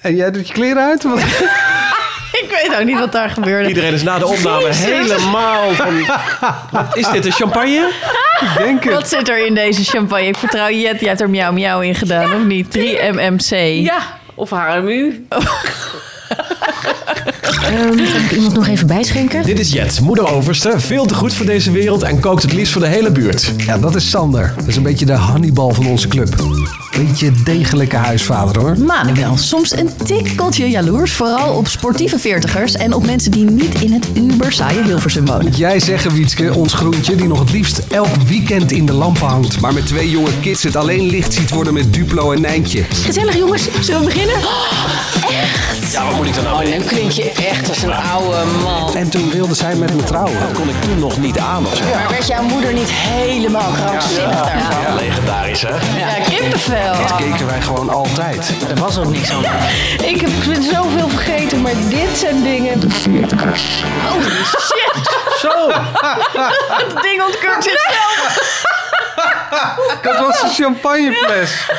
En jij doet je kleren uit? Want... Ik weet ook niet wat daar gebeurde. Iedereen is na de opname Jezus. helemaal van... Wat is dit, een champagne? Ik denk het. Wat zit er in deze champagne? Ik vertrouw Jet, jij hebt er miauw miauw in gedaan, of niet? 3MMC. Ja, of HMU. Ehm, kan ik iemand nog even bijschenken? Dit is Jet, moeder overste, veel te goed voor deze wereld en kookt het liefst voor de hele buurt. Ja, dat is Sander. Dat is een beetje de Hannibal van onze club. Beetje degelijke huisvader hoor. Manuel, soms een tikkeltje jaloers, vooral op sportieve veertigers en op mensen die niet in het uber saaie Hilversum wonen. Jij zeggen, Wietske, ons groentje, die nog het liefst elk weekend in de lampen hangt. Maar met twee jonge kids het alleen licht ziet worden met Duplo en Nijntje. Gezellig jongens, zullen we beginnen? Dan klink je echt als een oude man. En toen wilde zij met me trouwen. Kon ik toen nog niet aan of zo. Maar werd jouw moeder niet helemaal krankzinnig daarvan? Legendarisch, hè? Ja, kippenvel. Keken wij gewoon altijd. Er was ook niks aan. Ik heb zoveel vergeten, maar dit zijn eh, dingen. Dat ding ontkurkt zichzelf. Dat was een champagnefles.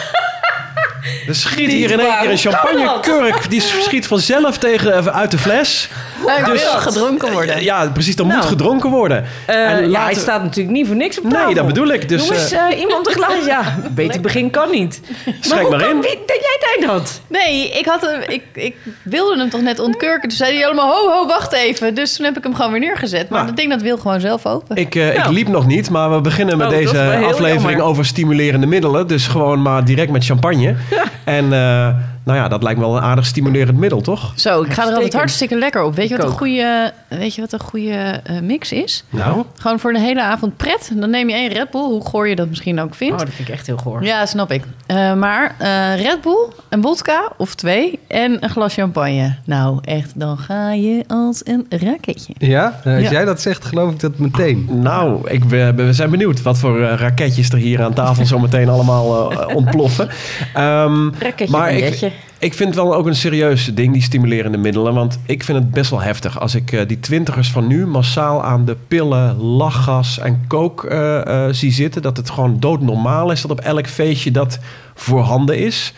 Er schiet hier in één keer een champagnekurk. Die schiet vanzelf tegen, eh, uit de fles. Hij Dus- wil gedronken worden. Ja, precies. Dan moet Nou. gedronken worden. Eh, En Ja, hij laten- staat natuurlijk niet voor niks op Nee, tafel. dat bedoel ik, dus, Jongens, eh, iemand een glaas. Ja, een beter begin kan niet. Schenk hoe maar kan- in. Wie, dat jij tijd had. Nee, ik, had hem, ik, ik wilde hem toch net ontkurken. Toen zei hij allemaal, ho, ho, wacht even. Dus toen heb ik hem gewoon weer neergezet. Maar Nou. dat ding dat wil gewoon zelf open. Ik, eh, ik liep nog niet, maar we beginnen met Oh, nou. dat is wel deze heel aflevering jammer. over stimulerende middelen. Dus gewoon maar direct met champagne. En eh, nou ja, dat lijkt me wel een aardig stimulerend middel, toch? Zo, ik ga er altijd Uitstekend. hartstikke lekker op. Weet je Ik wat een ook. goede, weet je wat een goede eh, mix is? Nou, Gewoon voor een hele avond pret. Dan neem je één Red Bull, hoe goor je dat misschien ook Oh, vindt. dat vind ik echt heel goor. Ja, snap ik. Eh, maar eh, Red Bull, een vodka of twee en een glas champagne. Nou, echt, dan ga je als een raketje. Ja? Eh, Als Ja. jij dat zegt, geloof ik dat meteen. nou ik, ben- we zijn benieuwd wat voor eh, raketjes er hier aan tafel zo meteen allemaal eh, ontploffen. Ehm, Raketje, Maar ik- raketje. Ik vind het wel ook een serieus ding, die stimulerende middelen. Want ik vind het best wel heftig als ik eh, die twintigers van nu massaal aan de pillen, lachgas en kook eh, eh, zie zitten. Dat het gewoon doodnormaal is dat op elk feestje dat voorhanden is.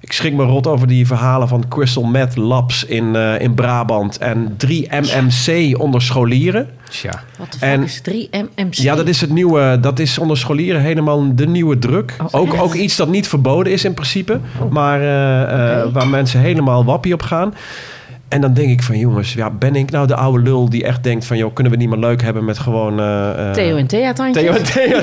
Ik schrik me rot over die verhalen van Crystal Meth Labs in, eh, in Brabant en 3MMC onder scholieren. Tja. Wat de fuck en- is 3MMC? Ja, dat is het nieuwe. Dat is onder scholieren helemaal de nieuwe druk. Oh, ook, ook iets dat niet verboden is in principe. Maar eh, eh, waar mensen helemaal wappie op gaan. En dan denk ik van jongens, ja, ben ik nou de oude lul die echt denkt van joh, kunnen we niet meer leuk hebben met gewoon eh, eh, Theo en Thea tandjes. Theo en Thea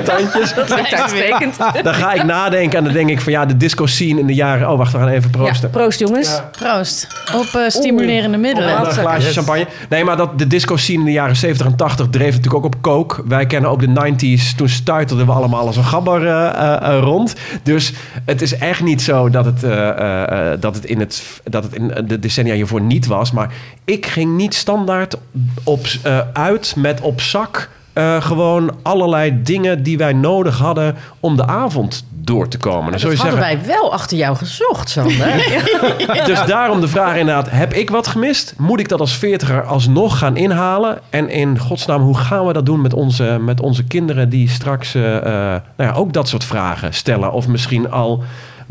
tandjes. Dat lijkt uitstekend. Dan ga ik nadenken en dan denk ik van ja, de disco scene in de jaren. Oh, wacht, we gaan even Ja, proosten. proost jongens. Proost. Op eh, stimulerende Op middelen. Een glaasje champagne. Nee, maar dat, de disco scene in de jaren 70 en 80 dreef natuurlijk ook op coke. Wij kennen ook de 90s. Toen stuiterden we allemaal als een gabber eh, eh, eh, rond. Dus het is echt niet zo dat het, eh, eh, eh, dat het in, het, dat het in eh, de decennia hiervoor niet was. Maar ik ging niet standaard op, eh, uit met op zak. eh, gewoon allerlei dingen die wij nodig hadden om de avond door te komen. Dan zul je Dat zeggen, hadden wij wel achter jou gezocht, Sander. dus daarom de vraag inderdaad, heb ik wat gemist? Moet ik dat als veertiger alsnog gaan inhalen? En in godsnaam, hoe gaan we dat doen met onze, met onze kinderen die straks eh, eh, nou ja, ook dat soort vragen stellen? Of misschien al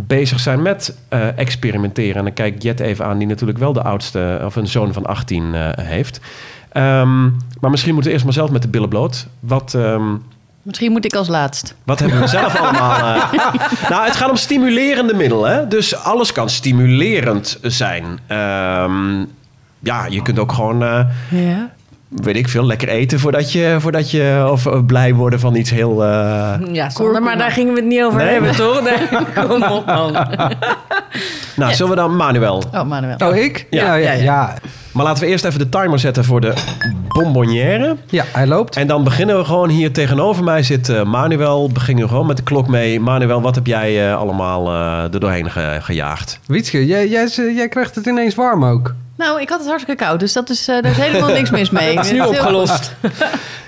bezig zijn met eh, experimenteren. En dan kijk ik Jet even aan, die natuurlijk wel de oudste, of een zoon van 18 eh, heeft. Ehm, maar misschien moeten we eerst maar zelf met de billen bloot. Wat, ehm, Misschien moet ik als laatst. wat hebben we zelf allemaal? eh? Nou, het gaat om stimulerende middelen. Hè? Dus alles kan stimulerend zijn. Ehm, ja, je kunt ook gewoon, eh, Ja. weet ik veel, lekker eten voordat je, voordat je of eh, blij worden van iets heel. eh, Ja, Sander, maar daar gingen we het niet over Nee, hebben, toch? Nee, kom op, man. Nou, zullen we dan Manuel? Oh, Manuel. Oh, ik? Ja, ja, ja. ja, ja. Maar laten we eerst even de timer zetten voor de bonbonnière. Ja, hij loopt. En dan beginnen we gewoon hier tegenover mij zit eh, Manuel. Beginnen we gewoon met de klok mee. Manuel, wat heb jij eh, allemaal eh, er doorheen ge- gejaagd? eh, Wietske, jij, jij, jij krijgt het ineens warm ook. Nou, ik had het hartstikke koud, dus dat is, eh, daar is helemaal niks mis mee. Het is nu Heel- opgelost.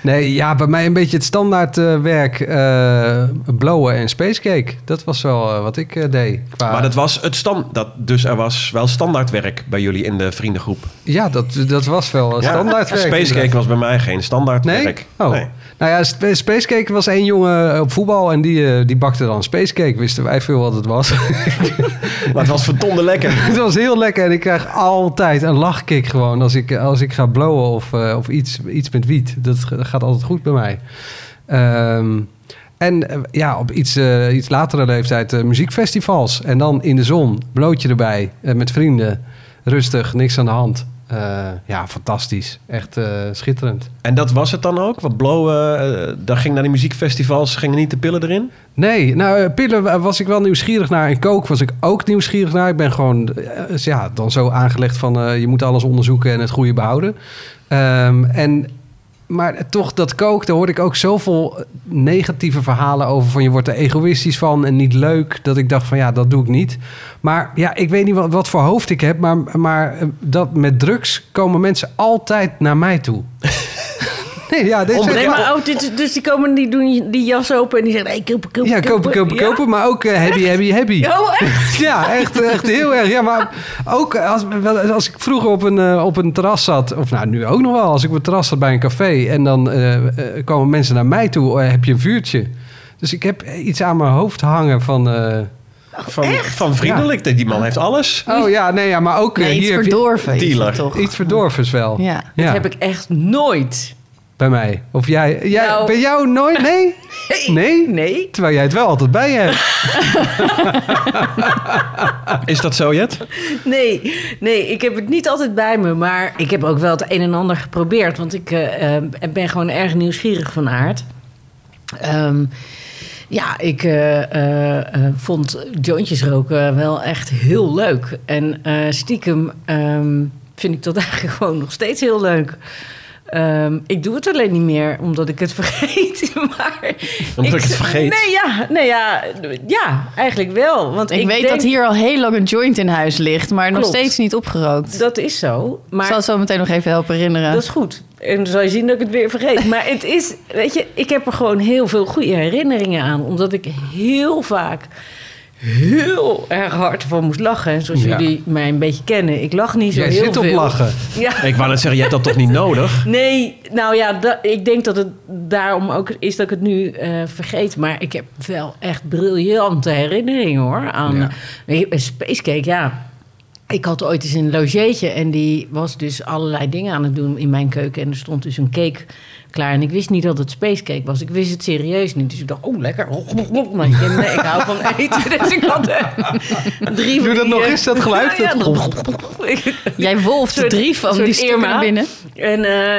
Nee, ja, bij mij een beetje het standaard eh, werk. eh blowen en spacecake. Dat was wel eh, wat ik eh, deed. Qua... Maar dat was het stand, dat, dus er was wel standaardwerk bij jullie in de vriendengroep. Ja, dat, dat was wel Ja, standaard werk. Spacecake was bij mij geen standaardwerk. Nee? Oh. Nou ja, sp- spacecake was één jongen op voetbal en die, eh, die bakte dan spacecake. Wisten wij veel wat het was. Maar het was verdomde lekker. het was heel lekker en ik krijg altijd een lachkick gewoon als ik, als ik ga blowen of, eh, of iets, iets met wiet. Dat g- gaat altijd goed bij mij. Ehm, en eh, ja, op iets, eh, iets latere leeftijd eh, muziekfestivals. En dan in de zon, blootje erbij, eh, met vrienden. Rustig, niks aan de hand. Eh, ja, fantastisch. Echt eh, schitterend. En dat was het dan ook? Want blowen, eh, daar ging naar die muziekfestivals, gingen niet de pillen erin? Nee, nou, eh, pillen eh, was ik wel nieuwsgierig naar. En kook was ik ook nieuwsgierig naar. Ik ben gewoon, eh, is ja, dan zo aangelegd van... eh, je moet alles onderzoeken en het goede behouden. Ehm, en, maar toch, dat kook, daar hoorde ik ook zoveel negatieve verhalen over... van je wordt er egoïstisch van en niet leuk. Dat ik dacht van, ja, dat doe ik niet. Maar ja, ik weet niet wat, wat voor hoofd ik heb... maar, maar eh, dat, met drugs komen mensen altijd naar mij toe. nee, ja, dit is Onbekend- echt- Nee, Maar, oh, dus, dus die komen die doen die jas open en die zeggen: hey, kopen, kopen. Ja, kopen, kopen, Ja? kopen. Maar ook eh, happy, happy, happy. Oh, echt? Ja, echt, echt heel erg. Ja, maar ook als, als ik vroeger op een, eh, op een terras zat, of nou nu ook nog wel, als ik op een terras zat bij een café en dan eh, eh, komen mensen naar mij toe, eh, heb je een vuurtje. Dus ik heb iets aan mijn hoofd hangen van. eh, Van, van vriendelijk, die man heeft alles. oh ja, nee, ja, maar ook eh, Nee, iets hier heb je- verdorven is het dealer. toch? iets verdorvens wel. Ja, ja Dat heb ik echt nooit. bij mij. Of jij, jij Nou. bij jou nooit? Nee? Nee? Nee. Terwijl jij het wel altijd bij je hebt. Is dat zo, Jet? Nee, nee, ik heb het niet altijd bij me. Maar ik heb ook wel het een en ander geprobeerd. Want ik eh, eh, ben gewoon erg nieuwsgierig van aard. Ehm, ja, ik eh, eh, eh, vond jointjes roken wel echt heel leuk. En eh, stiekem ehm, vind ik dat eigenlijk gewoon nog steeds heel leuk. Ehm, ik doe het alleen niet meer, omdat ik het vergeet. Maar Omdat ik het vergeet. Nee, ja, nee, ja, ja eigenlijk wel. Want Ik, ik weet denk- dat hier al heel lang een joint in huis ligt, maar nog Klopt. steeds niet opgerookt. Dat is zo. Maar Ik zal het zo meteen nog even helpen herinneren. Dat is goed. En dan zal je zien dat ik het weer vergeet. Maar het is, weet je, ik heb er gewoon heel veel goede herinneringen aan. Omdat ik heel vaak heel erg hard van moest lachen. En zoals Ja. jullie mij een beetje kennen, ik lach niet zo Jij heel zit op veel. lachen. Ja. Ik wou net zeggen, je hebt dat toch niet nodig? Nee, nou ja, da- ik denk dat het daarom ook is dat ik het nu eh, vergeet. Maar ik heb wel echt briljante herinneringen hoor. Aan Ja. Weet je, bij Spacecake, ja. Ik had ooit eens een logeetje en die was dus allerlei dingen aan het doen in mijn keuken. En er stond dus een cake klaar. En ik wist niet dat het spacecake was. Ik wist het serieus niet. Dus ik dacht, oh lekker. Maar ik, nee, ik hou van eten. Dus ik had eh, drie Doe van dat die, nog eh, eens, dat geluid. Ja, ja. Jij wolft Soort- drie van soort die stukken Irma. naar binnen. En eh,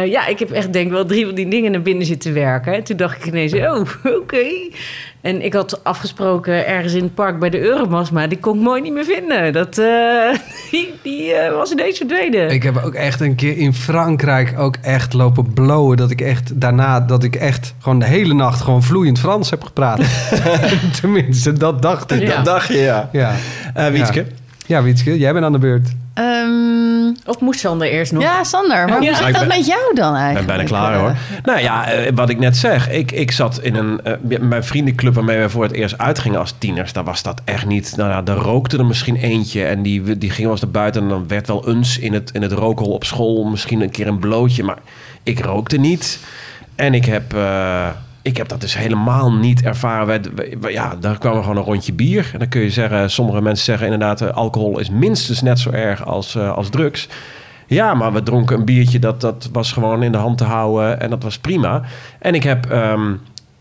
eh, ja, ik heb echt denk ik wel drie van die dingen naar binnen zitten werken. En toen dacht ik ineens, oh, oké. En ik had afgesproken ergens in het park bij de Eurobas, maar die kon ik mooi niet meer vinden. Dat, eh, die die eh, was ineens verdwenen. Ik heb ook echt een keer in Frankrijk ook echt lopen blowen. Dat ik echt daarna, dat ik echt gewoon de hele nacht gewoon vloeiend Frans heb gepraat. Tenminste, dat dacht ik. Ja. Dat dacht je, ja. Ja. Eh, Wietske? ja, Wietske, jij bent aan de beurt. Ehm, Of moest Sander eerst nog? ja, Sander, maar Ja. hoe Ik zit dat ben- met jou dan Ik eigenlijk? ben bijna klaar hoor. Nou ja, eh, wat ik net zeg. Ik, ik zat in een, eh, mijn vriendenclub waarmee wij voor het eerst uitgingen als tieners. Daar was dat echt niet. Nou ja, daar rookte er misschien eentje. En die, die ging wel eens naar buiten. En dan werd wel eens in het, in het rookhol op school misschien een keer een blootje. Maar ik rookte niet. En ik heb, eh, ik heb dat dus helemaal niet ervaren. Wij, wij- wij- ja, daar kwam er gewoon een rondje bier. En dan kun je zeggen, sommige mensen zeggen inderdaad... eh, alcohol is minstens net zo erg als, eh, als drugs. Ja, maar we dronken een biertje dat, dat was gewoon in de hand te houden. En dat was prima. En ik heb ehm,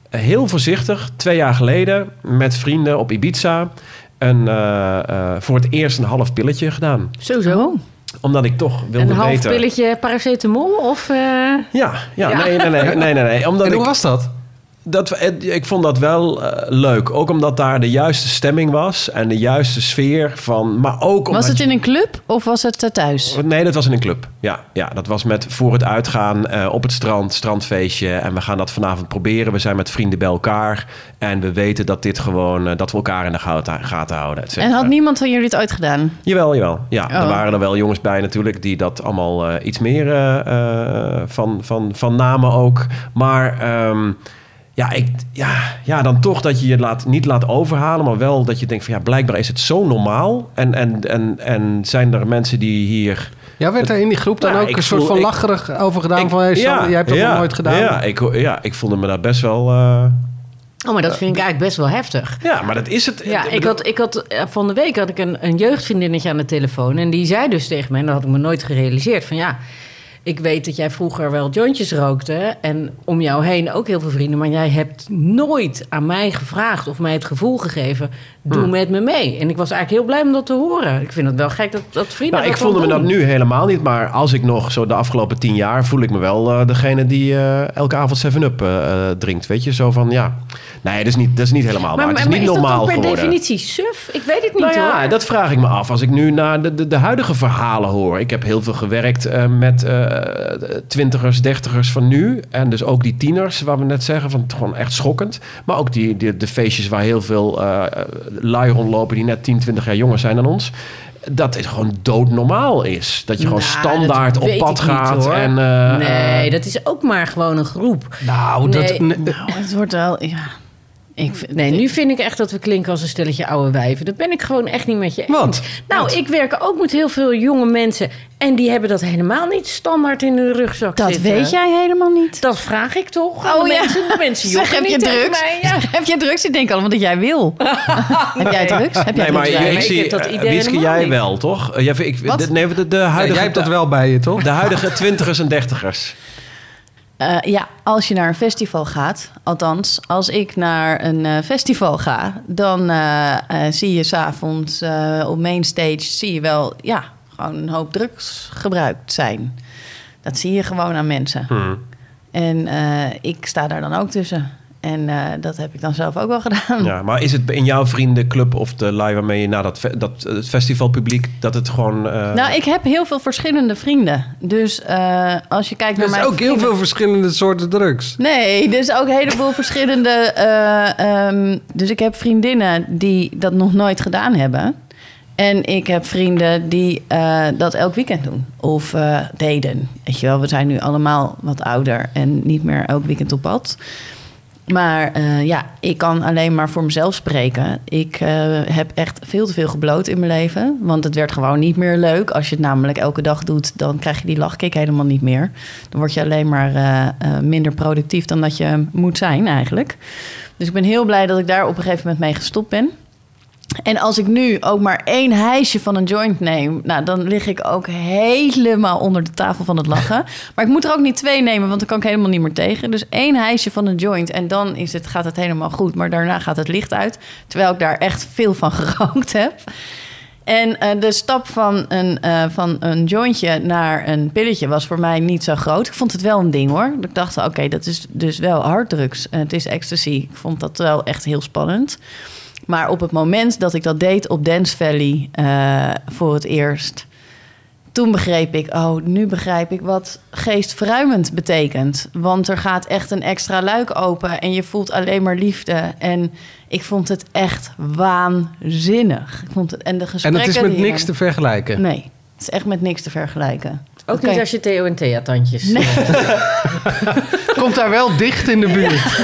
heel voorzichtig twee jaar geleden met vrienden op Ibiza... Een, eh, eh, voor het eerst een half pilletje gedaan. Sowieso. Omdat ik toch wilde Een half weten... pilletje paracetamol of... eh, Ja, ja, Nee, nee, nee, nee, nee, nee. Omdat en ik, hoe was dat? dat, het- ik vond dat wel eh, leuk. Ook omdat daar de juiste stemming was en de juiste sfeer van. Maar ook omdat Was het je- in een club of was het eh, thuis? Nee, dat was in een club. Ja, ja dat was met voor het uitgaan eh, op het strand, strandfeestje. En we gaan dat vanavond proberen. We zijn met vrienden bij elkaar. En we weten dat dit gewoon, eh, dat we elkaar in de gaten, gaten houden. et En cetera. had niemand van jullie het uitgedaan? Jawel, jawel. Ja, Oh. er waren er wel jongens bij natuurlijk die dat allemaal eh, iets meer eh, eh, van, van, van namen ook. Maar ehm, ja, ik, ja, ja, dan toch dat je je laat, niet laat overhalen, maar wel dat je denkt van ja, blijkbaar is het zo normaal. En, en, en, en zijn er mensen die hier... Ja, werd er in die groep dan Nou, ook ik een soort voel- van ik- lacherig over gedaan? Ik- van, hey, Sander, jij hebt dat ja, nog nooit gedaan. Ja ik, ja, ik voelde me daar best wel... eh, Oh, maar dat vind ik eigenlijk best wel heftig. ja, maar dat is het. Ja, ik had, ik had, eh, van de week had ik een, een jeugdvriendinnetje aan de telefoon. En die zei dus tegen mij, en dat had ik me nooit gerealiseerd, van ja... Ik weet dat jij vroeger wel jointjes rookte en om jou heen ook heel veel vrienden. Maar jij hebt nooit aan mij gevraagd of mij het gevoel gegeven, doe Hmm. met me mee. En ik was eigenlijk heel blij om dat te horen. Ik vind het wel gek dat, dat vrienden Nou, ik dat dan voelde me dat doen. nu helemaal niet, maar als ik nog zo de afgelopen tien jaar voel ik me wel eh, degene die eh, elke avond 7-up eh, eh, drinkt. Weet je, zo van ja. Nee, dat is niet, dat is niet helemaal. Maar, het is niet normaal dat ook per geworden. definitie suf? Ik weet het niet Nou hoor. ja, dat vraag ik me af. Als ik nu naar de, de, de huidige verhalen hoor. Ik heb heel veel gewerkt eh, met eh, twintigers, dertigers van nu. En dus ook die tieners, waar we net zeggen, van gewoon echt schokkend. Maar ook die, die, de feestjes waar heel veel eh lui rondlopen die net 10, 20 jaar jonger zijn dan ons. Dat het gewoon doodnormaal is. Dat je gewoon Nou, standaard dat op weet pad ik niet, gaat. hoor. en, eh, nee, dat is ook maar gewoon een groep. Nou, dat, Nee. nee, Nou, het wordt wel... Ja. Ik, vind- Nee, nu vind ik echt dat we klinken als een stelletje oude wijven. Dat ben ik gewoon echt niet met je eens. Wat? Nou, ik werk ook met heel veel jonge mensen. En die hebben dat helemaal niet standaard in hun rugzak Dat zitten. weet jij helemaal niet. Dat vraag ik toch? aan Oh, de ja. mensen, de mensen jokken heb je niet tegen drugs? mij. Ja. Heb jij drugs? Ik denk allemaal dat jij wil. Heb jij drugs? Heb jij Nee, maar drugs? maar ik, ik zie, heb dat eh, idee Wietske, helemaal jij niet. wel, toch? Eh, jij- ik, Wat? de- nee, de, de huidige, jij hebt dat wel bij je, toch? de huidige twintigers en dertigers. Eh, ja, als je naar een festival gaat, althans, als ik naar een eh, festival ga, dan eh, eh, zie je s'avonds eh op mainstage zie je wel, ja, gewoon een hoop drugs gebruikt zijn. Dat zie je gewoon aan mensen. En eh, ik sta daar dan ook tussen. En eh, dat heb ik dan zelf ook wel gedaan. Ja, maar is het in jouw vriendenclub of de lui waarmee je naar dat, fe- dat eh, festivalpubliek dat het gewoon. eh, Nou, ik heb heel veel verschillende vrienden. Dus eh, als je kijkt naar Er mijn zijn ook heel vrienden- veel verschillende soorten drugs. Nee, dus ook een heleboel verschillende. eh, ehm, dus ik heb vriendinnen die dat nog nooit gedaan hebben. En ik heb vrienden die eh, dat elk weekend doen. Of eh, deden. Weet je wel, we zijn nu allemaal wat ouder en niet meer elk weekend op pad. Maar eh, ja, ik kan alleen maar voor mezelf spreken. Ik eh, heb echt veel te veel gebloot in mijn leven. Want het werd gewoon niet meer leuk. Als je het namelijk elke dag doet, dan krijg je die lachkick helemaal niet meer. Dan word je alleen maar eh, eh, minder productief dan dat je moet zijn eigenlijk. Dus ik ben heel blij dat ik daar op een gegeven moment mee gestopt ben. En als ik nu ook maar één hijsje van een joint neem, nou, dan lig ik ook helemaal onder de tafel van het lachen. Maar ik moet er ook niet twee nemen, want dan kan ik helemaal niet meer tegen. Dus één hijsje van een joint en dan is het, gaat het helemaal goed. Maar daarna gaat het licht uit, terwijl ik daar echt veel van gerookt heb. En eh, de stap van een, eh, van een jointje naar een pilletje was voor mij niet zo groot. Ik vond het wel een ding hoor. Ik dacht, oké, dat is dus wel harddrugs. Eh, het is ecstasy. Ik vond dat wel echt heel spannend. Maar op het moment dat ik dat deed op Dance Valley eh, voor het eerst, toen begreep ik, oh, nu begrijp ik wat geestverruimend betekent. Want er gaat echt een extra luik open en je voelt alleen maar liefde. En ik vond het echt waanzinnig. Ik vond het, en de En gesprekken. het is met die je niks te dan- vergelijken. Nee, het is echt met niks te vergelijken. Ook Oké. niet als je Theo en Thea tandjes. eh, Komt daar wel dicht in de buurt.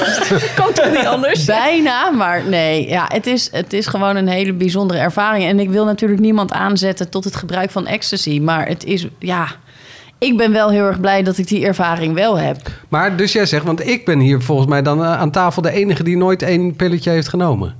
Kan toch niet anders? Bijna, maar nee. Ja, het, is, het is gewoon een hele bijzondere ervaring. En ik wil natuurlijk niemand aanzetten tot het gebruik van ecstasy. Maar het is, ja... Ik ben wel heel erg blij dat ik die ervaring wel heb. Maar dus jij zegt, want ik ben hier volgens mij dan eh, aan tafel de enige die nooit één pilletje heeft genomen.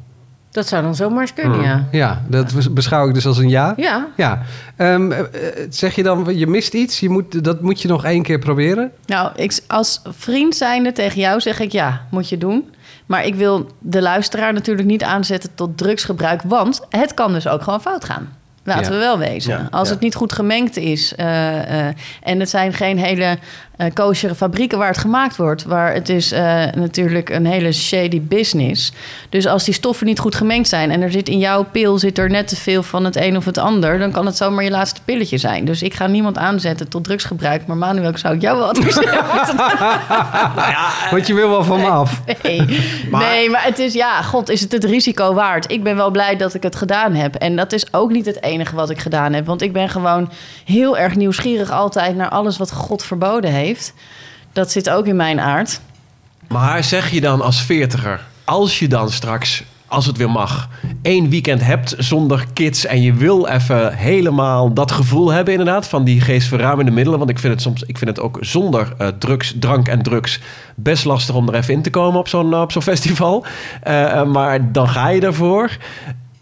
Dat zou dan zomaar eens Hmm. kunnen, ja. Ja, dat was- beschouw ik dus als een ja. Ja. Ja. Ehm, eh, eh, zeg je dan, je mist iets, je moet, dat moet je nog één keer proberen? Nou, ik, als vriend zijnde tegen jou zeg ik ja, moet je doen. Maar ik wil de luisteraar natuurlijk niet aanzetten tot drugsgebruik. Want het kan dus ook gewoon fout gaan. Laten Ja. we wel wezen. Ja, Als ja. het niet goed gemengd is. eh, eh, en het zijn geen hele eh kosher fabrieken waar het gemaakt wordt. Waar het is eh, natuurlijk een hele shady business. Dus als die stoffen niet goed gemengd zijn en er zit in jouw pil zit er net te veel van het een of het ander, dan kan het zomaar je laatste pilletje zijn. Dus ik ga niemand aanzetten tot drugsgebruik. Maar Manuel, ik zou ik jou wel adviseren. om te Want je wil wel van me af. Nee. nee, maar het is ja, god, is het het risico waard? Ik ben wel blij dat ik het gedaan heb. En dat is ook niet het enige wat ik gedaan heb. Want ik ben gewoon heel erg nieuwsgierig altijd naar alles wat God verboden heeft. Dat zit ook in mijn aard. Maar zeg je dan als veertiger, als je dan straks, als het weer mag, één weekend hebt zonder kids en je wil even helemaal dat gevoel hebben inderdaad van die geestverruimende middelen, want ik vind het soms, ik vind het ook zonder eh, drugs, drank en drugs best lastig om er even in te komen op zo'n op zo'n festival. Eh, eh, maar dan ga je ervoor.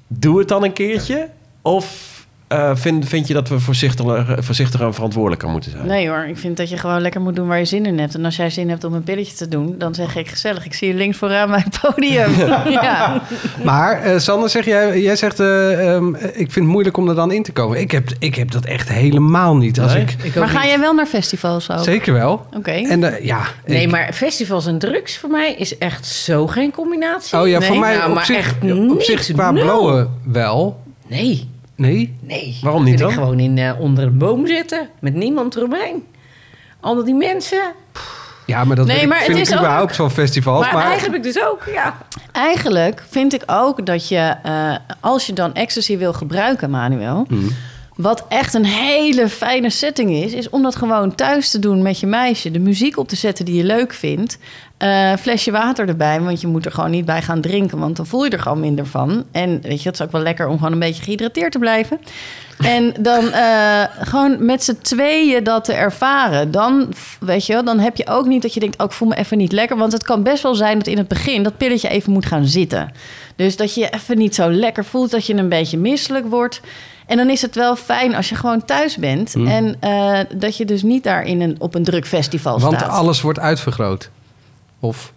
Doe het dan een keertje. Of eh, vind, vind je dat we voorzichtiger, voorzichtiger en verantwoordelijker moeten zijn? Nee hoor, ik vind dat je gewoon lekker moet doen waar je zin in hebt. En als jij zin hebt om een pilletje te doen, dan zeg ik gezellig. Ik zie je links vooraan bij het podium. ja. Maar eh Sander, zeg jij, jij zegt, eh, ehm, ik vind het moeilijk om er dan in te komen. Ik heb, ik heb dat echt helemaal niet. Als Nee? ik, Maar ga jij wel naar festivals ook? zeker wel. Oké. En eh, ja, ik- Nee, maar festivals en drugs voor mij is echt zo geen combinatie. oh ja, nee, voor mij nou, op, maar zich, echt op niks, zich qua nul. blowen wel. Nee, Nee? nee. Waarom niet Wil ik dan? gewoon in, eh, onder een boom zitten met niemand eromheen. Al die mensen. Ja, maar dat Nee, wil ik- maar het vind is ik ook- überhaupt van festivals. maar, Maar, eigenlijk dus ook, ja. Eigenlijk vind ik ook dat je, eh, als je dan ecstasy wil gebruiken, Manuel. Wat echt een hele fijne setting is, is om dat gewoon thuis te doen met je meisje. De muziek op te zetten die je leuk vindt. Eh, flesje water erbij, want je moet er gewoon niet bij gaan drinken. Want dan voel je er gewoon minder van. En weet je, het is ook wel lekker om gewoon een beetje gehydrateerd te blijven. En dan eh, gewoon met z'n tweeën dat te ervaren. Dan, f- weet je, wel, dan heb je ook niet dat je denkt... oh, ik voel me even niet lekker. Want het kan best wel zijn dat in het begin... dat pilletje even moet gaan zitten. Dus dat je je even niet zo lekker voelt. Dat je een beetje misselijk wordt. En dan is het wel fijn als je gewoon thuis bent. Mhm. En eh, dat je dus niet daar in een, op een druk festival want staat. alles wordt uitvergroot. Of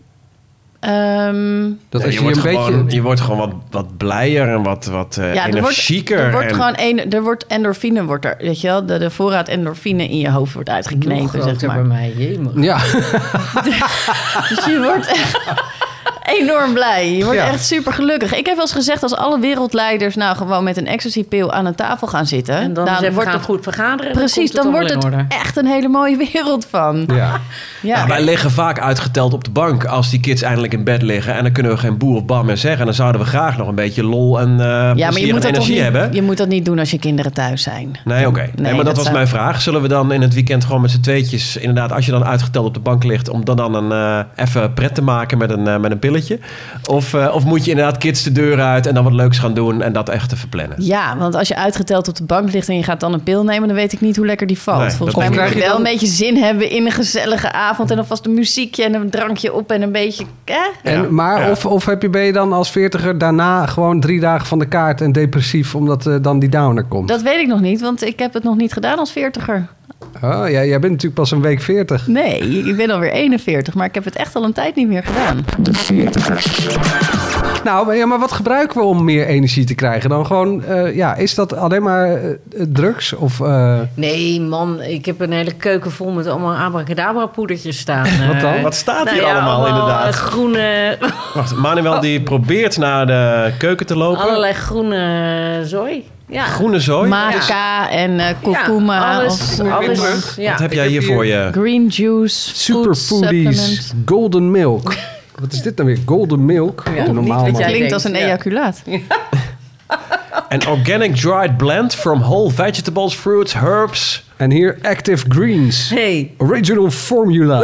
Ehm, dat Ja, als je, je, wordt een beetje... gewoon, je wordt gewoon wat, wat blijer en wat, wat ja, eh er wordt, energieker. er wordt en- gewoon een, er wordt endorfine, wordt er, weet je wel, de, de voorraad endorfine in je hoofd wordt Nog uitgeknepen, zeg groter maar. bij mij, jemig. Ja, Dus je wordt echt enorm blij. Je wordt Ja. echt super gelukkig. Ik heb wel eens gezegd, als alle wereldleiders nou gewoon met een ecstasy-pil aan een tafel gaan zitten, En Nou, dan, is even wordt gaan het goed vergaderen. precies, dan, wordt het echt een hele mooie wereld van. ja. Ja. Ja, Nou, wij liggen vaak uitgeteld op de bank als die kids eindelijk in bed liggen. En dan kunnen we geen boer of bam meer zeggen. En dan zouden we graag nog een beetje lol en eh Ja, maar plezier je moet, en dat toch energie niet, hebben. je moet dat niet doen als je kinderen thuis zijn. Nee, oké. Nee, maar dat, dat was zou- mijn vraag. Zullen we dan in het weekend gewoon met z'n tweetjes... inderdaad, als je dan uitgeteld op de bank ligt... om dan, dan een, eh, even pret te maken met een, eh, met een pilletje? Of, eh, of moet je inderdaad kids de deur uit en dan wat leuks gaan doen... en dat echt te verplannen? Ja, want als je uitgeteld op de bank ligt en je gaat dan een pil nemen, dan weet ik niet hoe lekker die valt. Nee, dat Volgens mij Of moet krijg je je wel dan- een beetje zin hebben in een gezellige avond en alvast een muziekje en een drankje op en een beetje. Hè? En, Ja, maar ja. Of, of heb je, ben je dan als veertiger daarna gewoon drie dagen van de kaart en depressief omdat eh, dan die downer komt? Dat weet ik nog niet, want ik heb het nog niet gedaan als veertiger. Oh, ja, jij bent natuurlijk pas een week veertig. Nee, ik ben alweer 41, maar ik heb het echt al een tijd niet meer gedaan. Nou, maar, ja, maar wat gebruiken we om meer energie te krijgen? Dan gewoon, eh, ja, is dat alleen maar eh, drugs? Of, eh, Nee, man, ik heb een hele keuken vol met allemaal abracadabra poedertjes staan. Wat dan? Eh, Wat staat nou hier ja, allemaal, inderdaad? eh, Groene, Wacht, Manuel die probeert naar de keuken te lopen. allerlei groene eh, zooi. Ja. Groene zooi. Maca en eh Ja, kurkuma alles, of alles. Wat Ja. heb jij hier voor je? green juice, food superfoodies, supplement. golden milk. Wat is dit dan weer? Golden milk? Doe normaal, niet wat man. jij- Klinkt als een Ja. ejaculaat. An organic dried blend from whole vegetables, fruits, herbs. En hier Active Greens. Hey. Original formula.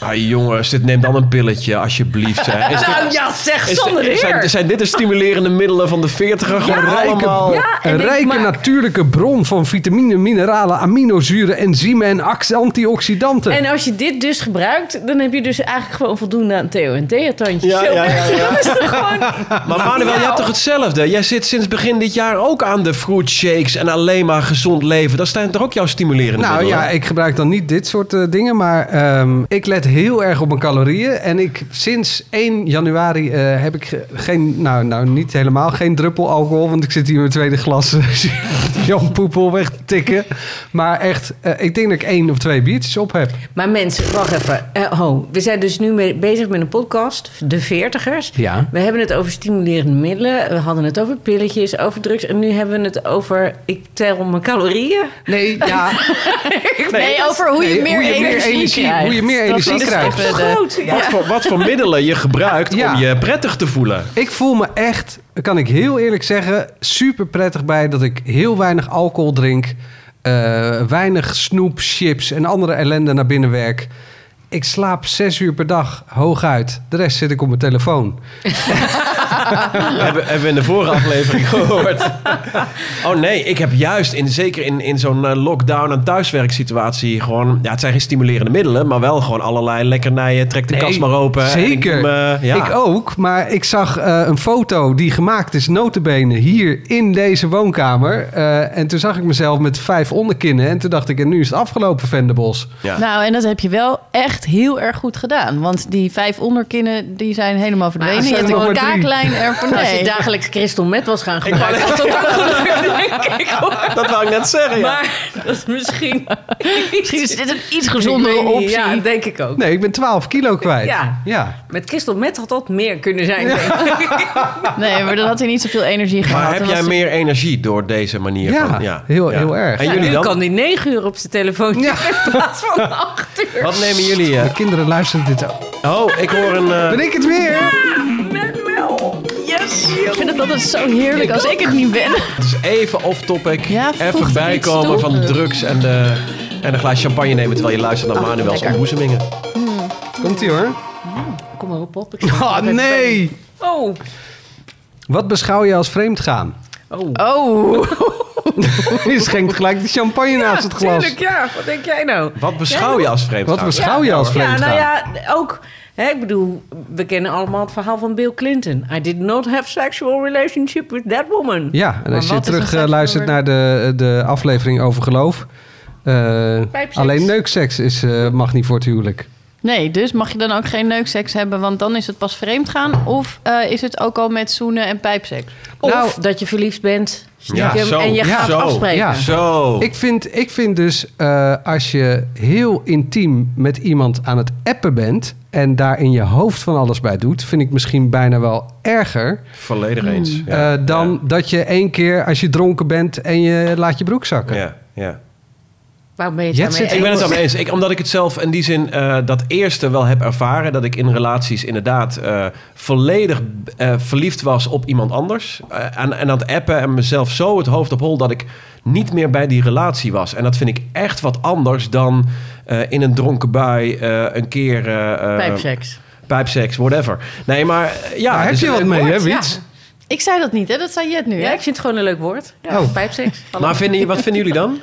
Ah jongens, dit neemt dan een pilletje, alsjeblieft. Hè. Is dit- Nou ja, zeg is- zonder is- zijn, weer. zijn dit de stimulerende middelen van de veertiger? Gewoon rijke, allemaal... Ja, en een ik rijke maak- natuurlijke bron van vitamine, mineralen, aminozuren, enzymen en ax- antioxidanten. En als je dit dus gebruikt, dan heb je dus eigenlijk gewoon voldoende aan Theo en Thea tandjes. Ja, Zo ja, ja, ja. Dat is Nou. toch gewoon... Maar Manuel, jij hebt toch hetzelfde? Jij zit sinds begin dit jaar ook aan de fruit shakes en alleen maar gezond leven. Dat zijn toch ook jouw stimulerende nou middelen? ja, ik gebruik dan niet dit soort eh, dingen, maar ehm, ik let heel erg op mijn calorieën. En ik sinds 1 januari eh, heb ik ge- geen, nou, nou niet helemaal, geen druppel alcohol. Want ik zit hier met tweede glas eh, Jan Poepel weg te tikken. Maar echt, eh, ik denk dat ik één of twee biertjes op heb. Maar mensen, wacht even. Eh, ho, we zijn dus nu mee- bezig met een podcast, De Veertigers. Ja. We hebben het over stimulerende middelen. We hadden het over pilletjes, over drugs. En nu hebben we het over, ik tel mijn calorieën. Nee, ja. Nee, over hoe je Nee, meer energie krijgt. Hoe je meer Dat was energie het krijgt. even de- Groot, ja. Wat, voor, wat voor middelen je gebruikt Ja. om je prettig te voelen. Ik voel me echt, kan ik heel eerlijk zeggen, super prettig bij dat ik heel weinig alcohol drink. eh, weinig snoep, chips en andere ellende naar binnen werk. Ik slaap zes uur per dag hooguit. De rest zit ik op mijn telefoon. hebben, hebben we in de vorige aflevering gehoord. Oh nee, ik heb juist, in, zeker in, in zo'n eh, lockdown- en thuiswerksituatie... gewoon, ja, het zijn geen stimulerende middelen... maar wel gewoon allerlei lekkernijen. Trek de Nee, kast maar open. zeker. En ik, doe me- ja. Ik ook, maar ik zag eh, een foto die gemaakt is, notenbenen, hier in deze woonkamer. Eh, en toen zag ik mezelf met vijf onderkinnen. En toen dacht ik, en nu is het afgelopen, Venderbos. Ja. Nou, en dat heb je wel echt heel erg goed gedaan. Want die vijf onderkinnen, die zijn helemaal verdwenen. er Je zijn hebt er een nog maar drie. kaaklijn ervan. Als je Nee. dagelijks crystal meth was gaan Ik wou gebruiken, had dat ook gelukt, denk ik. hoor. Dat wou ik net zeggen, ja. Maar dat is misschien... Misschien is dit een iets Ik gezondere weet niet, optie. Ja, denk ik ook. Nee, ik ben 12 kilo kwijt. Ja. ja. Met crystal meth had dat meer kunnen zijn. denk ik. Nee, maar dan had hij niet zoveel energie gehad. Maar heb Dan jij was- meer energie door deze manier Ja, van... heel- heel erg. En Ja, jullie nu dan? kan die negen uur op zijn telefoon Ja. in plaats van acht uur. Wat nemen jullie? eh? De kinderen luisteren dit ook. Oh, ik hoor een... eh, Ben ik het weer? Ik vind het altijd zo heerlijk als ik het niet ben. Het is even off-topic. Ja, voegt er even iets toe? bijkomen van de drugs en, de, en een glaas champagne nemen... terwijl je luistert Oh, naar Manuel's ontboezemingen. Komt ie hoor. Kom maar op, op. Ik Oh nee! Oh. Wat beschouw je als vreemdgaan? Oh. Oh, Je schenkt gelijk de champagne naast het glas. Tuurlijk, ja. Wat denk jij nou? Wat beschouw je als vreemdgaan? Wat beschouw je als Ja, vreemdgaan? nou ja, ook... Hè, ik bedoel, we kennen allemaal het verhaal van Bill Clinton. I did not have sexual relationship with that woman. Ja, en als wat je is een terug eh, seksnummer? luistert naar de, de aflevering over geloof. eh, Pijpseks. alleen neukseks is, eh, mag niet voor het huwelijk. nee, dus mag je dan ook geen neukseks hebben, want dan is het pas vreemd gaan? Of eh, is het ook al met zoenen en pijpseks? Of Nou- dat je verliefd bent Ja, stiekem, zo, en je ja, gaat zo, afspreken. ja. Zo. Ik vind, ik vind dus eh, als je heel intiem met iemand aan het appen bent. en daar in je hoofd van alles bij doet. vind ik misschien bijna wel erger. Volledig eens. Eh, dan dat je één keer als je dronken bent en je laat je broek zakken. Ja. ja, ja. Waarom ben je het Jet daarmee zit- Ik ben het eens? daarmee eens. Ik, omdat ik het zelf in die zin eh, dat eerste wel heb ervaren. Dat ik in relaties inderdaad eh, volledig eh, verliefd was op iemand anders. Eh, en, en aan het appen en mezelf zo het hoofd op hol dat ik niet meer bij die relatie was. En dat vind ik echt wat anders dan eh, in een dronken bui eh, een keer... eh, eh, Pijpseks. Pijpseks, whatever. Nee, maar eh, ja. Daar heb dus je het- wat mee, hè, ja. Wiets? Ik zei dat niet, hè? Dat zei Jet nu, Ja, hè? ik vind het gewoon een leuk woord. Ja, Oh. Pijpseks. Hallo. Maar vinden, wat vinden jullie dan?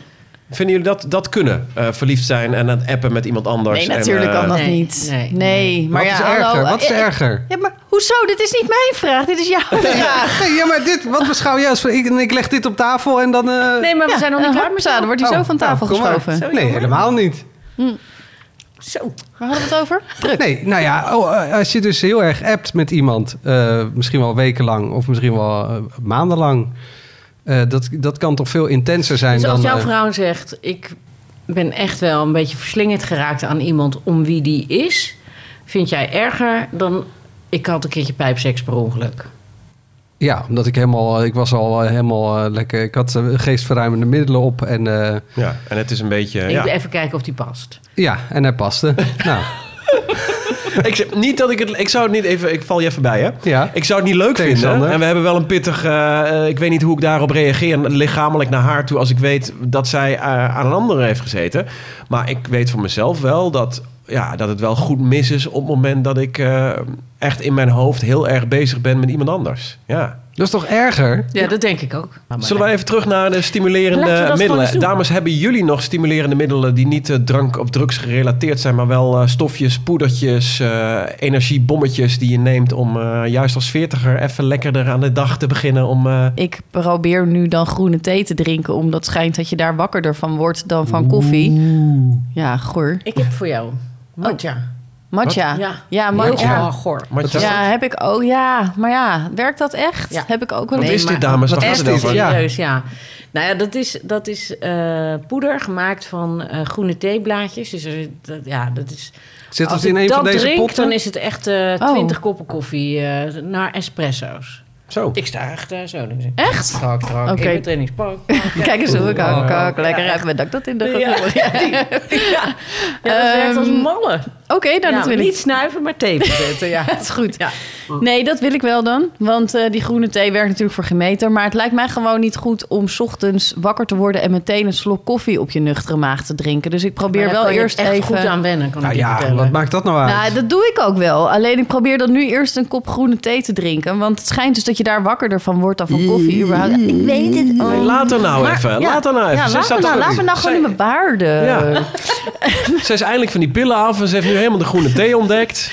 Vinden jullie dat, dat kunnen? Eh, verliefd zijn en aan het appen met iemand anders. Nee, en, natuurlijk eh, kan dat Nee, niet. nee, Nee, maar wat ja, is erger? hallo, wat is eh, erger? Ja, maar hoezo? Dit is niet mijn vraag, dit is jouw vraag. Nee, ja, maar dit, wat beschouw jij als... Ik, en ik leg dit op tafel en dan... eh, Nee, maar we Ja, zijn nog niet een klaar met harpzaad, jou. wordt hij zo oh, van nou, tafel kom maar. geschoven. Zo Nee, jammer. helemaal niet. Zo. Waar hadden we het over? Druk. Nee, nou ja, oh, eh, als je dus heel erg appt met iemand... eh, misschien wel wekenlang of misschien wel eh, maandenlang... eh, dat, dat kan toch veel intenser zijn Dus dan... als jouw eh, vrouw zegt, ik ben echt wel een beetje verslingerd geraakt aan iemand om wie die is, vind jij erger dan ik had een keertje pijpseks per ongeluk? ja, omdat ik helemaal... Ik was al eh, helemaal eh, lekker... Ik had eh, geestverruimende middelen op en... eh, Ja, en het is een beetje... Ik ja. wil even kijken of die past. ja, en hij paste. nou, ik, zeg- niet dat ik het. Ik zou het niet even. Ik val je even bij, hè? Ja. Ik zou het niet leuk Tegen vinden. Sander. En we hebben wel een pittig. eh, eh, ik weet niet hoe ik daarop reageer. Lichamelijk naar haar toe. Als ik weet dat zij eh, aan een andere heeft gezeten. Maar ik weet van mezelf wel dat. Ja, dat het wel goed mis is op het moment dat ik eh, echt in mijn hoofd heel erg bezig ben met iemand anders. Ja. dat is toch erger? Ja, dat denk ik ook. Zullen we even terug naar de Laten we stimulerende dat gewoon eens middelen? doen. Dames, hebben jullie nog stimulerende middelen die niet eh, drank of drugs gerelateerd zijn, maar wel eh, stofjes, poedertjes, eh, energiebommetjes die je neemt om eh, juist als veertiger even lekkerder aan de dag te beginnen? Om, eh, Ik probeer nu dan groene thee te drinken, omdat het schijnt dat je daar wakkerder van wordt dan van koffie. Ja, goor. Ik heb voor jou matcha. Matcha. Ja. Ja, matcha. Oh. Ja. Ja. goor. Matcha. Ja, heb ik ook. Ja, maar ja, werkt dat echt? Ja. Heb ik ook wel Wat eens. is maar- dit, dames? Wat Wat gaat is het dit? over? Ja. Serieus, ja. Nou ja, dat is, dat is eh, poeder gemaakt van eh, groene theeblaadjes. Dus er, zit- dat, ja, dat is... Zit als het in ik een dat van deze drink, potten? dan is het echt eh Oh. 20 koppen koffie eh, naar espresso's. Zo. Ik sta echt eh, zo. Dus. Echt? Trak, trak, Oké. in mijn trainingspak. pak. Kijk eens hoe ik ook, Ja. ook lekker heb met dat ik dat in de Oh. Ja. gevoel. Ja, die- ja. dat werkt als Ehm, malle. Oké, nou, Ja, dat wil ik. niet snuiven, maar thee verzetten. Ja. Dat is goed. Ja. Nee, dat wil ik wel dan. Want eh, die groene thee werkt natuurlijk voor geen meter. Maar het lijkt mij gewoon niet goed om 's ochtends wakker te worden... en meteen een slok koffie op je nuchtere maag te drinken. Dus ik probeer Maar daar wel kan je eerst echt even... goed aan wennen, kan Nou ik je ja, vertellen. wat maakt dat nou uit? Nou, dat doe ik ook wel. Alleen ik probeer dan nu eerst een kop groene thee te drinken. Want het schijnt dus dat je daar wakkerder van wordt dan van koffie. Überhaupt. Ik weet het ook. Nee, laat er nou even. laat er nou even. Oh. Ja, Ze laat, staat me nou, toch- laat me nou gewoon Zij- in mijn eh, baarden. Ja. Ze is eindelijk van die pillen af en ze heeft nu helemaal de groene thee ontdekt.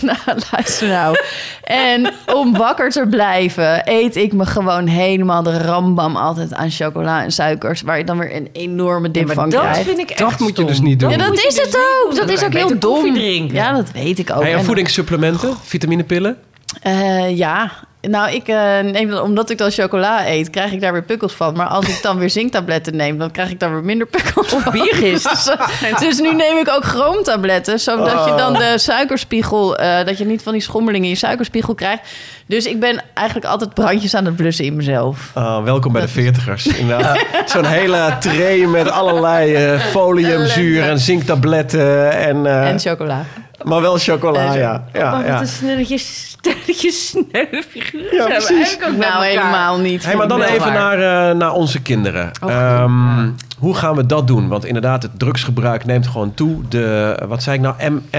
nou, luister nou. En om wakker te blijven, eet ik me gewoon helemaal de rambam altijd aan chocola en suikers. Waar je dan weer een enorme dip Maar van dat krijgt. vind ik echt dat moet je stom. dus niet doen. Ja, dat moet je is dus het niet ook. doen. Dat Dan is kan ook je heel beter dom. koffie drinken. Ja, dat weet ik ook. Hey, en Oh, En- voedingssupplementen, vitaminepillen. Eh, ja, nou, ik eh, neem dan, omdat ik dan chocola eet, krijg ik daar weer pukkels van. Maar als ik dan weer zinktabletten neem, dan krijg ik daar weer minder pukkels van. biergist. dus nu neem ik ook chroomtabletten, zodat je Oh. dan de suikerspiegel, eh, dat je niet van die schommelingen in je suikerspiegel krijgt. Dus ik ben eigenlijk altijd brandjes aan het blussen in mezelf. Ah, welkom bij de veertigers. Inderdaad. Zo'n hele tray met allerlei eh, foliumzuur en zinktabletten. En, eh, En chocola. maar wel chocola, en- ja. ja, Oh, ja. wat een snelletje, snelletje sneuwfiguur. Ja, precies. Nou, helemaal niet. Hey, maar dan Wel even waar. naar, eh, naar onze kinderen. Ehm, Hoe gaan we dat doen? Want inderdaad, het drugsgebruik neemt gewoon toe. De, wat zei ik nou,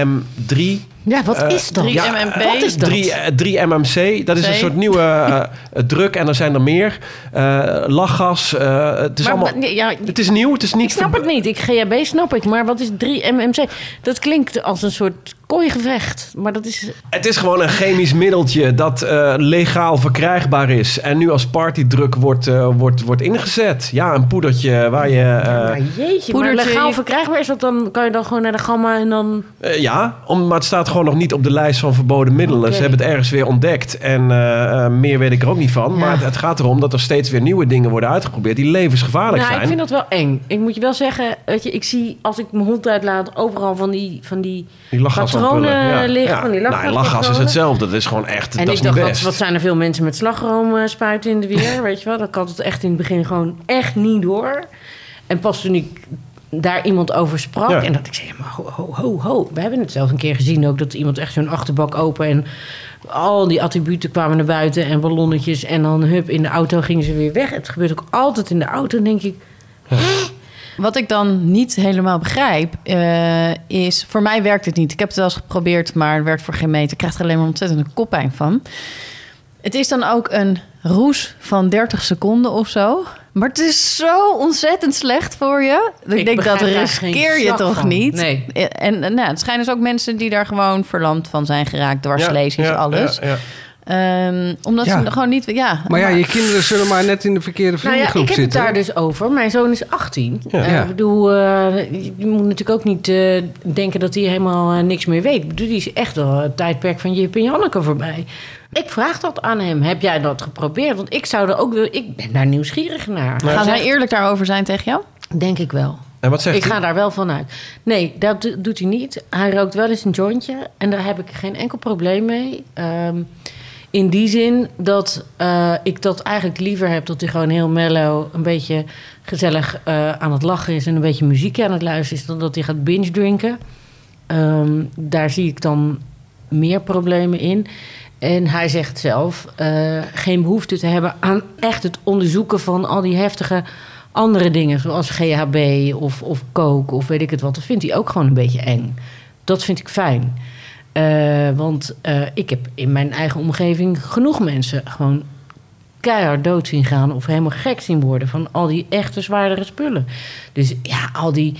MM3? Ja, wat Eh, is dat? drie Ja, MMP. wat is dat? 3, MMC, dat is een C. soort nieuwe eh, druk en er zijn er meer. Eh, lachgas, eh, het is Maar, allemaal... maar, nee, ja, het is nieuw, het is niet... ik snap het niet. Ik GHB snap ik, maar wat is 3-MMC? Dat klinkt als een soort kooigevecht. Maar dat is... Het is gewoon een chemisch middeltje dat eh, legaal verkrijgbaar is. En nu als partydruk wordt, eh, wordt, wordt ingezet. Ja, een poedertje waar je... eh, maar jeetje, maar poedertje- legaal verkrijgbaar is dat dan... Kan je dan gewoon naar de gamma en dan... eh, ja, om, maar het staat gewoon nog niet op de lijst van verboden middelen. Oké. Ze hebben het ergens weer ontdekt. En eh, eh, meer weet ik er ook niet van. Maar het, het gaat erom dat er steeds weer nieuwe dingen worden uitgeprobeerd... die levensgevaarlijk nou, zijn. ik vind dat wel eng. Ik moet je wel zeggen, weet je, ik zie als ik mijn hond uitlaat... overal van die... Van die Die lachgasampullen. Patronen liggen van die Nou, lachgas is lachgaspatronen. hetzelfde. Dat is gewoon echt, en dat is ik niet dacht, best. wat, wat zijn er veel mensen met slagroom eh, spuiten in de weer? Weet je wel, dat had het echt in het begin gewoon echt niet door. En pas toen ik daar iemand over sprak Ja. en dat ik zei, ja, maar ho, ho, ho, ho. We hebben het zelf een keer gezien ook, dat iemand echt zo'n achterbak open... en al die attributen kwamen naar buiten en ballonnetjes... en dan hup, in de auto gingen ze weer weg. Het gebeurt ook altijd in de auto, denk ik. Wat ik dan niet helemaal begrijp, eh, is... Voor mij werkt het niet. Ik heb het wel eens geprobeerd, maar het werkt voor geen meter. Ik krijg er alleen maar ontzettend een koppijn van. Het is dan ook een roes van 30 seconden of zo. Maar het is zo ontzettend slecht voor je. Ik, Ik denk, dat begrijp daar geen riskeer je zak toch van. niet? Nee. En eh, nou, het schijnen dus ook mensen die daar gewoon verlamd van zijn geraakt... dwarslesies, Ja, ja, alles. ja, ja. Ehm, omdat Ja. ze gewoon niet... Ja, Maar ja, je kinderen zullen maar net in de verkeerde Nou ja, ik vriendengroep heb het zitten. daar dus over. Mijn zoon is 18. Ja. Eh, Ja. ik bedoel, eh, je je moet natuurlijk ook niet eh, denken dat hij helemaal eh, niks meer weet. Ik bedoel, die is echt wel het tijdperk van Jip en Janneke voorbij. Ik vraag dat aan hem. Heb jij dat geprobeerd? Want ik zou er ook wil. Ik ben daar nieuwsgierig naar. Gaan Hij zij zegt, nou eerlijk daarover zijn tegen jou? Denk ik wel. En wat zegt Ik hij? ga daar wel van uit. Nee, dat do- doet hij niet. Hij rookt wel eens een jointje. En daar heb ik geen enkel probleem mee. Ehm, in die zin dat eh, ik dat eigenlijk liever heb... dat hij gewoon heel mellow, een beetje gezellig eh, aan het lachen is... en een beetje muziek aan het luisteren is... dan dat hij gaat binge drinken. Ehm, daar zie ik dan meer problemen in. En hij zegt zelf eh, geen behoefte te hebben aan echt het onderzoeken van al die heftige andere dingen, zoals GHB of, of coke of weet ik het wat. Dat vindt hij ook gewoon een beetje eng. Dat vind ik fijn. Eh, want eh, ik heb in mijn eigen omgeving genoeg mensen gewoon keihard dood zien gaan of helemaal gek zien worden van al die echte zwaardere spullen. Dus ja, al die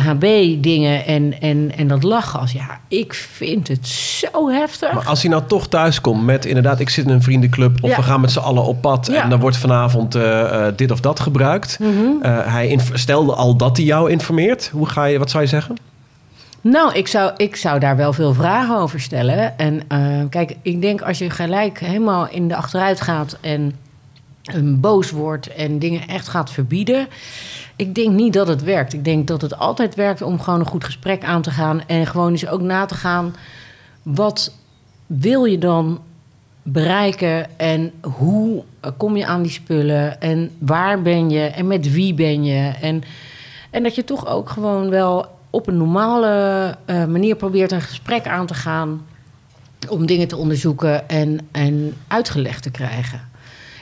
GHB-dingen en, en, en dat lachgas. Ja, ik vind het zo heftig. Maar als hij nou toch thuis komt met inderdaad, ik zit in een vriendenclub of Ja. we gaan met z'n allen op pad Ja. en dan wordt vanavond eh, eh, dit of dat Mhm. gebruikt. Eh, hij inf- stelde al dat hij jou informeert. Hoe ga je, wat zou je zeggen? Nou, ik zou, ik zou daar wel veel vragen over stellen. En eh, kijk, ik denk als je gelijk helemaal in de achteruit gaat en een boos wordt en dingen echt gaat verbieden. Ik denk niet dat het werkt. Ik denk dat het altijd werkt om gewoon een goed gesprek aan te gaan. En gewoon eens ook na te gaan. Wat wil je dan bereiken? En hoe eh, kom je aan die spullen? En waar ben je? En met wie ben je? En, en dat je toch ook gewoon wel op een normale eh, manier probeert een gesprek aan te gaan. Om dingen te onderzoeken en, en uitgelegd te krijgen.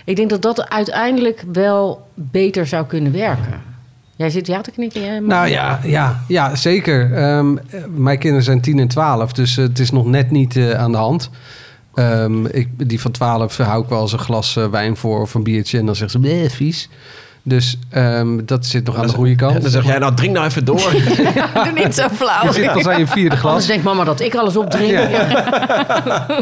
Ik denk dat dat uiteindelijk wel beter zou kunnen werken. Jij zit ja te knikken, jij? Mark? Nou ja, ja, ja zeker. Ehm, eh, mijn kinderen zijn 10 en 12, dus eh, het is nog net niet eh, aan de hand. Ehm, ik, die van 12 hou ik wel eens een glas eh, wijn voor of een biertje en dan zegt ze, bleh, vies. Dus ehm, dat zit nog aan de goede kant. Ja, dan zeg jij, nou drink nou even door. Doe niet zo Je flauw. zit al aan je vierde Anders glas. denkt mama Oh, dat ik alles opdrink.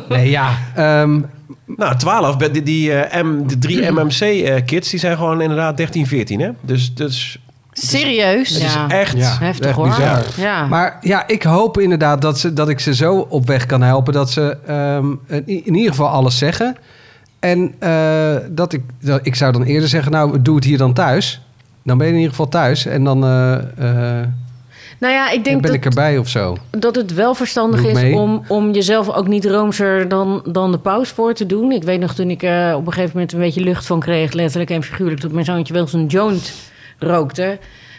Nee, ja. ehm, nou, 12, bij die, die, eh, M, de drie MMC-kids, die zijn gewoon inderdaad 13, 14, hè? Dus, dus Serieus? het is Ja. echt... Ja. Heftig Echt hoor. bizar. Ja. Maar ja, ik hoop inderdaad dat, ze, dat ik ze zo op weg kan helpen dat ze ehm, in, in ieder geval alles zeggen. En eh, dat ik, dat, ik zou dan eerder zeggen, nou doe het hier dan thuis. Dan ben je in ieder geval thuis en dan eh, eh, nou ja, ik ben denk dat, ik erbij of zo. dat het wel verstandig Doe ik is mee. om, om jezelf ook niet roomser dan, dan de paus voor te doen. Ik weet nog toen ik eh, op een gegeven moment een beetje lucht van kreeg, letterlijk en figuurlijk, dat mijn zoontje wel zijn joint rookte.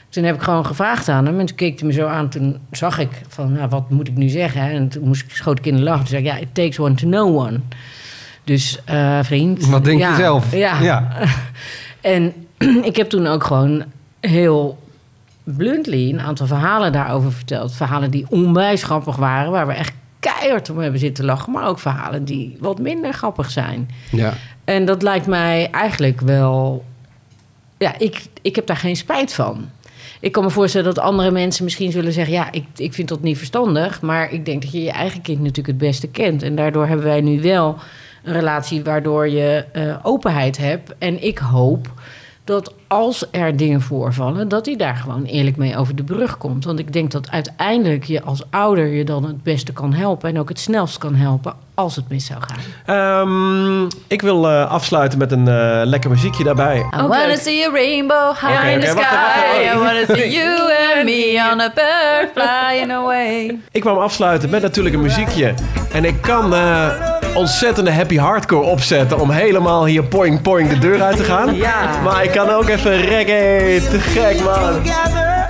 Toen heb ik gewoon gevraagd aan hem en toen keek hij me zo aan. Toen zag ik van, nou, wat moet ik nu zeggen? hè? En toen moest ik, schoot ik in de lach. Toen zei ik, ja, it takes one to know one. Dus eh, vriend. Wat denk ja, je zelf? Ja. En ik heb toen ook gewoon heel bluntly een aantal verhalen daarover verteld. Verhalen die onwijs grappig waren, waar we echt keihard om hebben zitten lachen. Maar ook verhalen die wat minder grappig zijn. Ja. En dat lijkt mij eigenlijk wel. Ja, ik, ik heb daar geen spijt van. Ik kan me voorstellen dat andere mensen misschien zullen zeggen: Ja, ik, ik vind dat niet verstandig. Maar ik denk dat je je eigen kind natuurlijk het beste kent. En daardoor hebben wij nu wel een relatie waardoor je eh, openheid hebt. En ik hoop dat als er dingen voorvallen, dat hij daar gewoon eerlijk mee over de brug komt. Want ik denk dat uiteindelijk je als ouder je dan het beste kan helpen. En ook het snelst kan helpen als het mis zou gaan. Ehm, ik wil eh, afsluiten met een eh, lekker muziekje daarbij. I wanna see a rainbow high Oké, in the oké, wacht even, wacht sky. even. I wanna see you and me on a bird flying away. Ik kwam afsluiten met natuurlijk een muziekje. En ik kan eh, ontzettende happy hardcore opzetten om helemaal hier poing poing de deur uit te gaan. Ja. Maar ik kan ook even reggae, te gek man.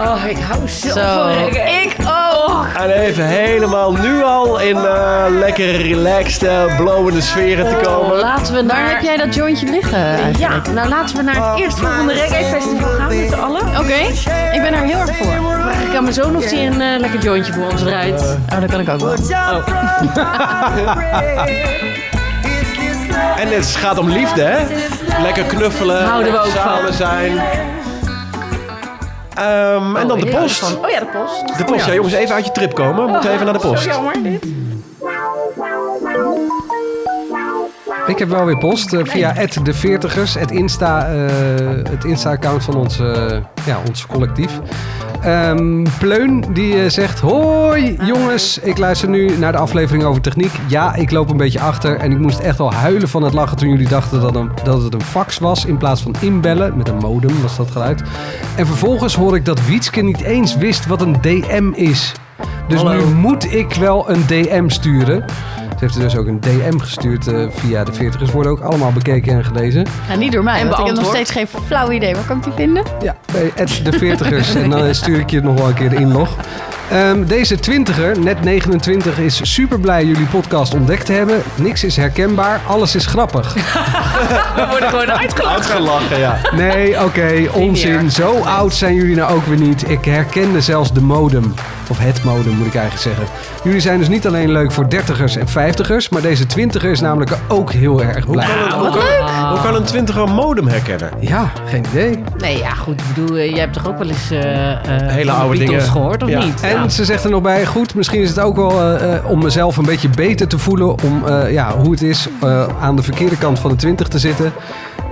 Oh, ik hou zo Zo, ik ook. En even helemaal nu al in eh, lekker relaxte, blowende sferen te komen. Laten we Waar heb naar... jij dat jointje liggen? Ja, nou laten we naar het eerstvolgende reggae festival gaan met z'n allen. Oké, ik ben daar heel erg voor. Ik aan mijn zoon of hij een eh, lekker jointje voor ons Eh, draait. Oh, dat kan ik ook wel. En het gaat om liefde, hè? Lekker knuffelen, Houden we ook samen van. zijn. Ehm, en dan de post. Oh ja, Oh, de post. De post, ja jongens, even uit je trip komen. We moeten even naar de post. Ik heb wel weer post eh, via de 40ers, het Insta, eh, het Insta-account van ons, eh, ja, ons collectief. Ehm, Pleun die eh, zegt: Hoi jongens, ik luister nu naar de aflevering over techniek. Ja, ik loop een beetje achter en ik moest echt wel huilen van het lachen toen jullie dachten dat, een, dat het een fax was in plaats van inbellen. Met een modem was dat geluid. En vervolgens hoor ik dat Wietske niet eens wist wat een DM is. Dus nu moet ik wel een DM sturen. Ze heeft er dus ook een DM gestuurd eh, via de 40ers. Worden ook allemaal bekeken en gelezen. Nou, niet door mij, want ik heb nog beantwoord. steeds geen flauw idee. Waar kan ik die vinden? Ja, bij at de 40ers. En dan eh, stuur ik je nog wel een keer de inlog. Ehm, deze 20er, net 29, is super blij jullie podcast ontdekt te hebben. Niks is herkenbaar, alles is grappig. Uitgelachen, ja. Nee, oké, onzin. Zo oud zijn jullie nou ook weer niet. Ik herkende zelfs de modem. Of het modem, moet ik eigenlijk zeggen. Jullie zijn dus niet alleen leuk voor 30ers en 50ers, maar deze 20er is namelijk ook heel erg Hoe blij. kan, een, hoe, Ah. kan, hoe kan een twintiger modem herkennen? Ja, geen idee. Nee, ja, goed. Ik bedoel, eh, jij hebt toch ook wel eens eh, eh, Hele van de oude Beatles dingen. gehoord, of Ja. niet? En En ze zegt er nog bij, goed, misschien is het ook wel eh, eh, om mezelf een beetje beter te voelen. Om eh, ja, hoe het is eh, aan de verkeerde kant van de 20 te zitten.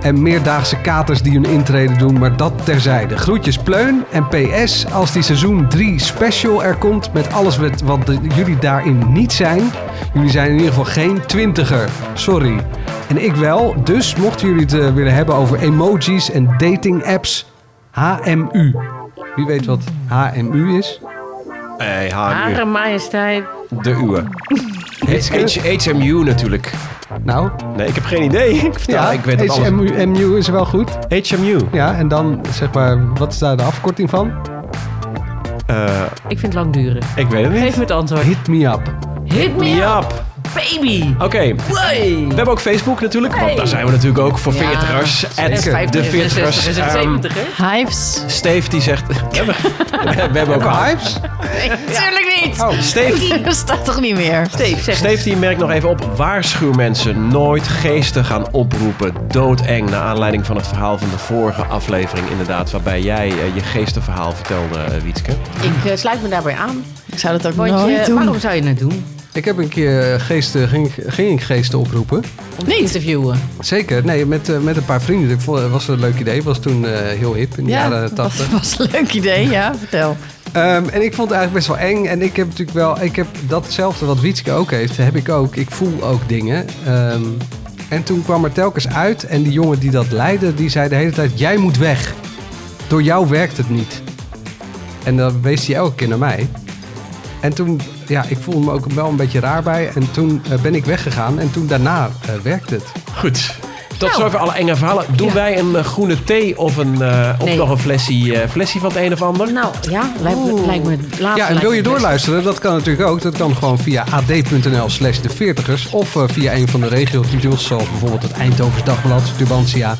En meerdaagse katers die hun intrede doen, maar dat terzijde. Groetjes Pleun en PS, als die seizoen 3 special er komt met alles wat, wat de- jullie daarin niet zijn. Jullie zijn in ieder geval geen twintiger, sorry. En ik wel, dus mochten jullie het eh, willen hebben over emojis en dating apps, HMU. Wie weet wat HMU is? Hey, Hare majesteit. De uwe. H- HMU natuurlijk. Nou, Nee, ik heb geen idee. Ik, vertel, ik weet het alles. HMU MU is wel goed. HMU. Ja, en dan zeg maar, wat is daar de afkorting van? Eh, Ik vind het lang duren. ik weet het niet. Geef me het antwoord. Hit me up. Hit me up, Jaap. baby. Oké, we hebben ook Facebook natuurlijk, want daar zijn we natuurlijk ook voor veertigers. At de veertigers. Is het Ehm, 70, hè? Hives. Steve die zegt, we hebben, we hebben ook Vibes? Tuurlijk niet. Oh, Steve Dat staat toch niet meer? Steve, zeg Steef die merkt nog even op. Waarschuw mensen nooit geesten gaan oproepen. Doodeng. Naar aanleiding van het verhaal van de vorige aflevering inderdaad. Waarbij jij eh, je geestenverhaal vertelde, eh, Wietske. Ik eh, sluit me daarbij aan. Ik zou dat ook Want Nou, nooit je- doen. waarom zou je het doen? Ik heb een keer eh, geesten, ging, ik- ging ik geesten oproepen. Om te interviewen. Zeker, nee, met, eh, met een paar vrienden. Dat vond- was een leuk idee. Was toen eh, heel hip in de jaren dat 80. was een leuk idee. Ja, vertel. Ehm, en ik vond het eigenlijk best wel eng. En ik heb natuurlijk wel, ik heb datzelfde wat Wietske ook heeft, heb ik ook. Ik voel ook dingen. Ehm, en toen kwam er telkens uit. En die jongen die dat leidde, die zei de hele tijd: Jij moet weg. Door jou werkt het niet. En dan wees hij elke keer naar mij. En toen, ja, ik voelde me ook wel een beetje raar bij. En toen eh, ben ik weggegaan. En toen daarna eh, werkte het. Goed. Tot Nou. zover alle enge verhalen. Doen wij een eh, groene thee of, een, eh, of Nee. nog een flesje, eh, flesje van het een of ander? Nou ja, lijkt me, lijkt me het laatste. Ja, en lijkt wil me je het beste. doorluisteren? Dat kan natuurlijk ook. Dat kan gewoon via ad.nl slash de veertigers. Of eh, via een van de regiotitels, zoals bijvoorbeeld het Eindhovens Dagblad, Tubantia.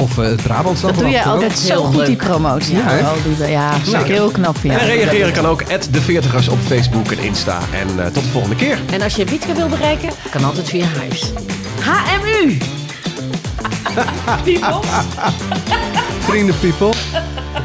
Of eh, het Brabants Dat doe Dagblad. jij altijd heel zo goed, leuk. die promotie. Ja, Ja, hè? ja, ja heel knap van En jou. reageren kan ook at de veertigers op Facebook en Insta. En eh, tot de volgende keer. En als je Wietke wil bereiken, kan altijd via huis. HMU! Vrienden, people.